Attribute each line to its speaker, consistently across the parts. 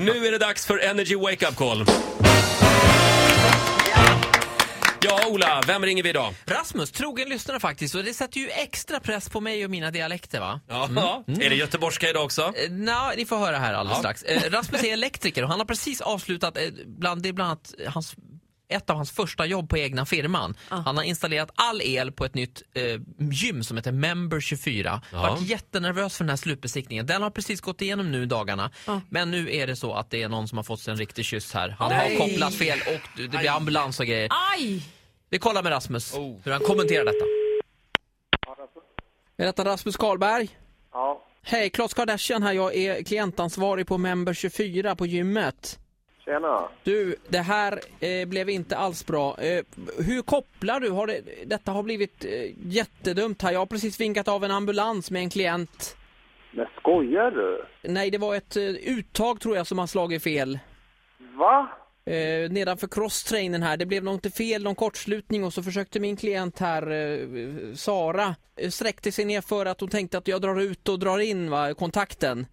Speaker 1: nu är det dags för Energy Wake Up Call. Ja, Ola, vem ringer vi idag?
Speaker 2: Rasmus, trogen lyssnare faktiskt, och det sätter ju extra press på mig och mina dialekter va?
Speaker 1: Ja, Mm.
Speaker 2: Mm.
Speaker 1: är det göteborgska idag också?
Speaker 2: Eh, Nja, ni får höra här alldeles
Speaker 1: Ja.
Speaker 2: strax. Eh, Rasmus är elektriker och han har precis avslutat, eh, bland, det är bland annat hans, ett av hans första jobb på egna firman. Han har installerat all el på ett nytt eh, gym som heter Member24.
Speaker 1: Ja.
Speaker 2: Varit jättenervös för den här slutbesiktningen. Den har precis gått igenom nu i dagarna. Men nu är det så att det är någon som har fått sig en riktig kyss här. Han
Speaker 3: Aj.
Speaker 2: har kopplat fel och det blir ambulans och grejer.
Speaker 3: Aj!
Speaker 2: Vi kollar med Rasmus
Speaker 1: Oh.
Speaker 2: hur han kommenterar detta. Är detta Rasmus Karlberg?
Speaker 4: Ja,
Speaker 2: Hej, Klas Kardashian här. Jag är klientansvarig på Member24 på gymmet.
Speaker 4: tjena.
Speaker 2: Du, det här eh, blev inte alls bra. Eh, hur kopplar du? Har det, detta har blivit eh, jättedumt här. Jag har precis vinkat av en ambulans med en klient.
Speaker 4: Men skojar du?
Speaker 2: Nej, det var ett eh, uttag tror jag som har slagit fel.
Speaker 4: Va?
Speaker 2: Eh, nedanför crosstrainern här. Det blev något fel, någon kortslutning och så försökte min klient här, eh, Sara, eh, sträckte sig ner för att hon tänkte att jag drar ut och drar in va, kontakten.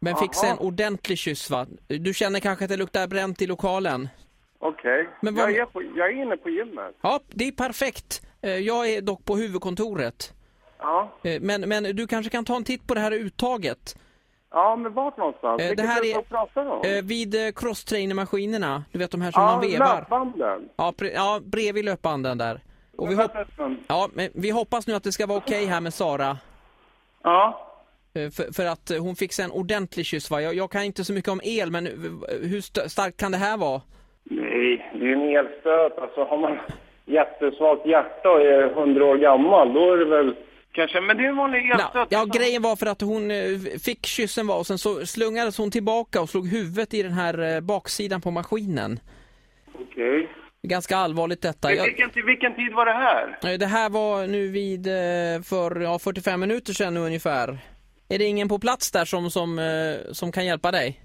Speaker 2: Men fick sen ordentlig kyss va. Du känner kanske att det luktar bränt i lokalen?
Speaker 4: Okej.
Speaker 2: Men vad-
Speaker 4: Jag, är på- jag är inne på gymmet.
Speaker 2: Ja, det är perfekt. Eh, jag är dock på huvudkontoret.
Speaker 4: Ja,
Speaker 2: Eh, men, men du kanske kan ta en titt på det här uttaget?
Speaker 4: ja men vart någonstans?
Speaker 2: Eh, det
Speaker 4: Vilket
Speaker 2: här
Speaker 4: hus
Speaker 2: är-
Speaker 4: de pratar om?
Speaker 2: Eh, vid eh, crosstrainermaskinerna, du vet de här som
Speaker 4: ja,
Speaker 2: man vevar.
Speaker 4: löpbanden.
Speaker 2: Ja, pre- ja, bredvid löpbanden där. Och vi
Speaker 4: Men
Speaker 2: hopp-
Speaker 4: vänta en stund.
Speaker 2: Ja, men vi hoppas nu att det ska vara okej här med Sara.
Speaker 4: Ja.
Speaker 2: eh, För, för att eh, hon fick sig en ordentlig kyss va? Jag, jag kan inte så mycket om el men eh, hur st- starkt kan det här vara?
Speaker 4: Nej, det är ju en elstöt. Alltså har man jättesvagt hjärta och är hundra år gammal, då är det väl kanske... Men det är en vanlig
Speaker 2: Ja,
Speaker 4: elstöt.
Speaker 2: ja, grejen var för att hon eh, fick kyssen va och sen så slungades hon tillbaka och slog huvudet i den här eh, baksidan på maskinen.
Speaker 4: Okej.
Speaker 2: Ganska allvarligt detta. Jag,
Speaker 4: Vilken, ti- vilken tid var det här?
Speaker 2: eh, det här var nu vid eh, för ja, 45 minuter sedan ungefär. Är det ingen på plats där som, som, eh, som kan hjälpa dig?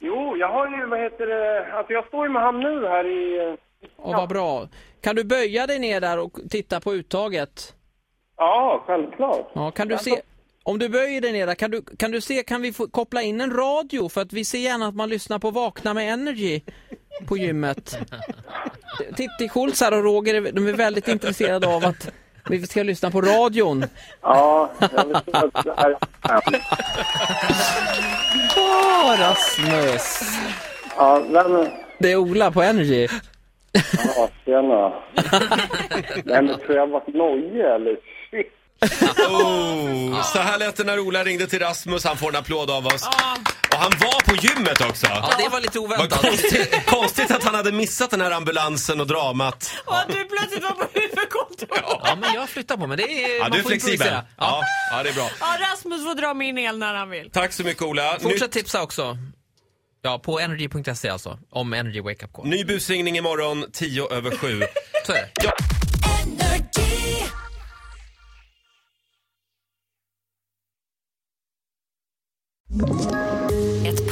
Speaker 4: Jo, jag har ju, vad heter det, alltså jag står ju med han nu här i...
Speaker 2: Och vad bra. Kan du böja dig ner där och titta på uttaget?
Speaker 4: Ja, självklart.
Speaker 2: Ja, kan du se, om du böjer dig ner där, kan du, kan du se, kan vi få koppla in en radio? För att vi ser gärna att man lyssnar på Vakna med Energy på gymmet. Titti Schultz här och Roger, är- de är väldigt intresserade av att vi ska lyssna på radion.
Speaker 4: Ja, jag vet att det här...
Speaker 2: Åh, Rasmus!
Speaker 4: Ja, nej men...
Speaker 2: Det är Ola på Energy.
Speaker 4: Ja, tjena. Nej men tror jag varit nojig eller? Shit.
Speaker 1: Oh, så här lät det när Ola ringde till Rasmus. Han får en applåd av oss. Och han var på gymmet också.
Speaker 2: Ja, det var lite
Speaker 1: Vad
Speaker 2: oväntat.
Speaker 1: konstigt, konstigt att han hade missat den här ambulansen och dramat.
Speaker 3: Och att du plötsligt var på huvudkontoret!
Speaker 2: Ja, men jag flyttar på mig. Det är,
Speaker 1: Ja,
Speaker 2: man
Speaker 1: du är
Speaker 2: får
Speaker 1: flexibel.
Speaker 2: improvisera.
Speaker 1: Ja.
Speaker 2: Ja.
Speaker 1: Ja, det är bra.
Speaker 3: Ja, Rasmus får dra min el när han vill.
Speaker 1: Tack så mycket Ola. Ny,
Speaker 2: Fortsätt tipsa också. Ja, på energy.se alltså. Om Energy Wake Up Call.
Speaker 1: ny busringning imorgon 10 över 7.
Speaker 2: Så är det.
Speaker 5: Ett